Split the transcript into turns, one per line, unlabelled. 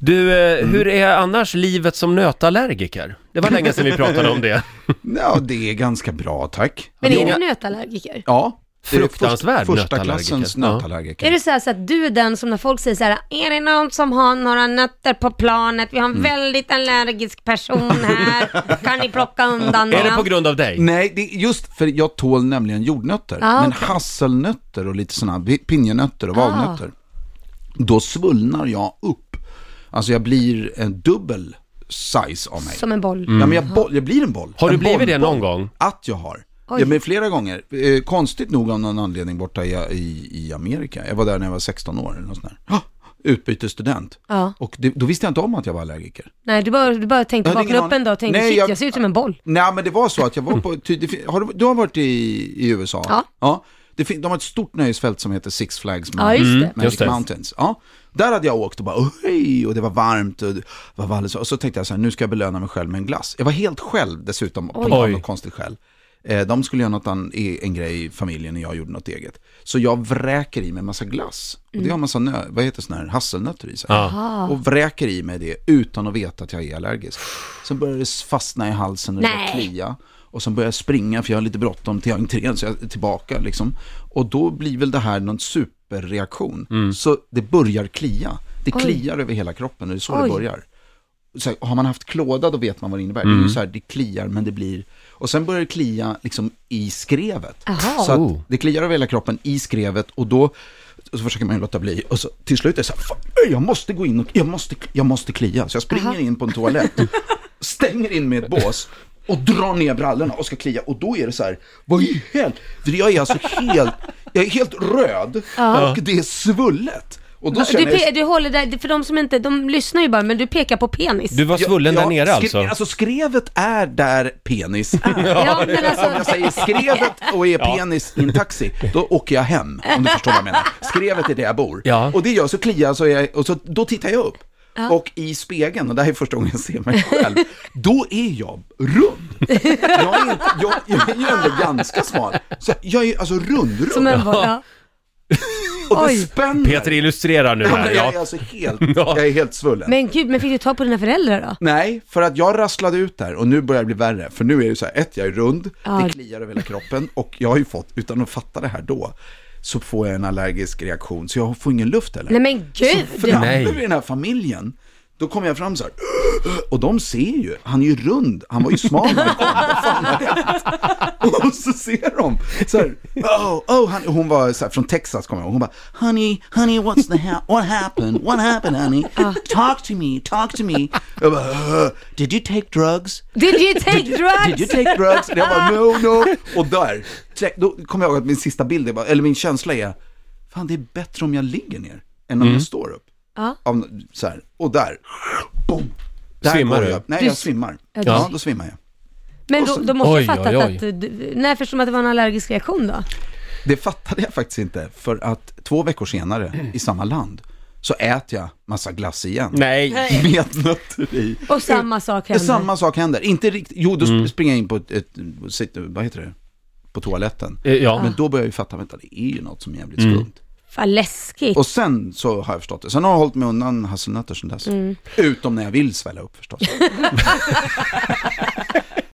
Du, eh, hur är annars livet som nötallergiker? Det var länge sedan vi pratade om det.
Ja, det är ganska bra, tack.
Men
Ja.
är du nötallergiker?
Ja. det är först-
Fruktansvärd
Första
nötallergiker.
klassens
Ja.
nötallergiker.
Är det så, här, så att du är den som när folk säger så här, är det någon som har några nötter på planet? Vi har en
Mm.
väldigt allergisk person här. Kan ni plocka undan
Är det på
dem?
grund av dig?
Nej, det är just för jag tål nämligen jordnötter.
Ah,
men
okej. Ah.
hasselnötter och lite sådana, här pinjenötter och valnötter. Då svullnar jag upp. Alltså jag blir en dubbel size av mig.
Som en boll.
Ja, men jag, boll, jag blir en boll.
Mm. Har
en
du blivit det
bollboll.
någon gång?
Att jag har.
Oj.
Ja, men flera gånger. Eh, konstigt nog av någon anledning borta i, i, i Amerika. Jag var där när jag var 16 år. Eller något sånt där. Ah, Utbytesstudent.
Ja.
Och det, då visste jag inte om att jag var allergiker.
Nej, du bara, du bara tänkte
Jag hade
vakna
ingen
upp en dag och tänkte,
aning. Nej,
shit,
jag-
jag ser ut som en boll.
Nej, men det var så att jag var på... Ty, det, fin- har du, du har varit i, i USA?
Ja.
Det fin, de har ett stort nöjesfält som heter Six Flags
Ja, just
Mountain.
det.
Magic
Just det.
Mountains. Ja. Där hade jag åkt och bara, "Åh, hej, och det var varmt och det var alldeles, och så tänkte jag så här, nu ska jag belöna mig själv med en glass. Jag var helt själv dessutom, på
Oj.
av
Oj.
något konstigt skäl. Eh, de skulle göra något an, i- en grej i familjen och jag gjorde något eget. Så jag vräker i mig en massa glass. Och
Mm.
det har en massa, nö, vad heter sån här, hasselnötter i sig. Och vräker i mig det utan att veta att jag är allergisk. Sen börjar det fastna i halsen och det börjar
Nej.
klia. Och sen börjar jag springa för jag har lite bråttom till entrén så jag är tillbaka liksom. Och då blir väl det här någon superreaktion. Så det börjar klia. Det
Oj.
kliar över hela kroppen och det är så
Oj.
det börjar. Så här, har man haft klåda då vet man vad det innebär. Det är ju så här, det kliar men det blir... Och sen börjar det klia liksom i skrevet.
Aha.
Så att
Oh.
det kliar över hela kroppen i skrevet och då och så försöker man ju låta bli och så till slut är det så här, "Fan, öj, jag måste gå in och jag måste, jag måste klia. Så jag springer in på en toalett, stänger in med ett bås och drar ner brallorna och ska klia och då är det så här, vad i helvete? För jag är alltså helt, jag är helt röd och det är svullet. Och då
Du,
känner jag,
pe- du håller där, för de som inte, de lyssnar ju bara, men du pekar på penis.
Du var svullen
Ja,
där nere
skre-
alltså?
Alltså skrevet är där penis är.
ja, men
Om jag
alltså,
säger skrevet och är penis i en taxi, då åker jag hem, om du förstår vad jag menar. Skrevet är där jag bor.
Ja.
Och det gör så kliar jag, så jag, och så, då tittar jag upp. Och i spegeln, och det här är första gången jag ser mig själv, då är jag rund. Jag är, inte, jag, jag är ju ändå ganska smal. Så jag är alltså rund, rund.
som en boll. Ja.
och det
oj.
spänner.
Peter illustrerar nu
Ja,
här,
men jag är
ja.
alltså helt, jag är helt svullen.
Men gud, men fick du ta på dina föräldrar då?
Nej, för att jag rasslade ut där och nu börjar det bli värre. För nu är det så här, ett, jag är rund,
Ja.
det kliar över hela kroppen och jag har ju fått, utan att fatta det här då, så får jag en allergisk reaktion så jag får ingen luft heller.
Nej men gud!
För när
Nej.
jag hamnar i den här familjen, då kommer jag fram så här, och de ser ju, han är ju rund, han var ju smal när han kom, vad fan har hänt? Och så ser de, så här, oh, oh, han, hon var så här, från Texas kommer jag ihåg, hon bara, honey, honey, what's the ha- what happened, what happened honey,
Ah.
talk to me, talk to me. Jag bara, "Ugh, did you take drugs?
Did you take
Did you
drugs?
take drugs? Och jag bara, no, no. Och där, tre- då kommer jag ihåg att min sista bild, är bara, eller min känsla är, fan det är bättre om jag ligger ner än om jag står upp.
Ja.
Av, så här, och där, boom. Där
Svimmar
går
du?
jag. Nej,
Du-
jag svimmar.
Ja,
Ja,
du svim-
då svimmar jag.
Men då, då måste
Oj,
jag fattat
oj, oj.
att du- du, när förstod man att det var en allergisk reaktion då?
Det fattade jag faktiskt inte, för att två veckor senare, i samma land, så äter jag massa glass igen.
Nej.
Med nötter i.
Och samma sak
Det
hände.
samma sak händer. Inte riktigt, jo då sp-
Mm.
springer jag in på ett, ett, sitt- vad heter det, på toaletten.
Eh, Ja.
Men
Ah.
då börjar jag ju fatta, vänta det är ju något som är jävligt
Mm.
skumt.
Fan läskigt.
Och sen så har jag förstått det. Sen har jag hållit mig undan
Mm.
hasselnötter sen dess. Utom när jag vill svälla upp förstås.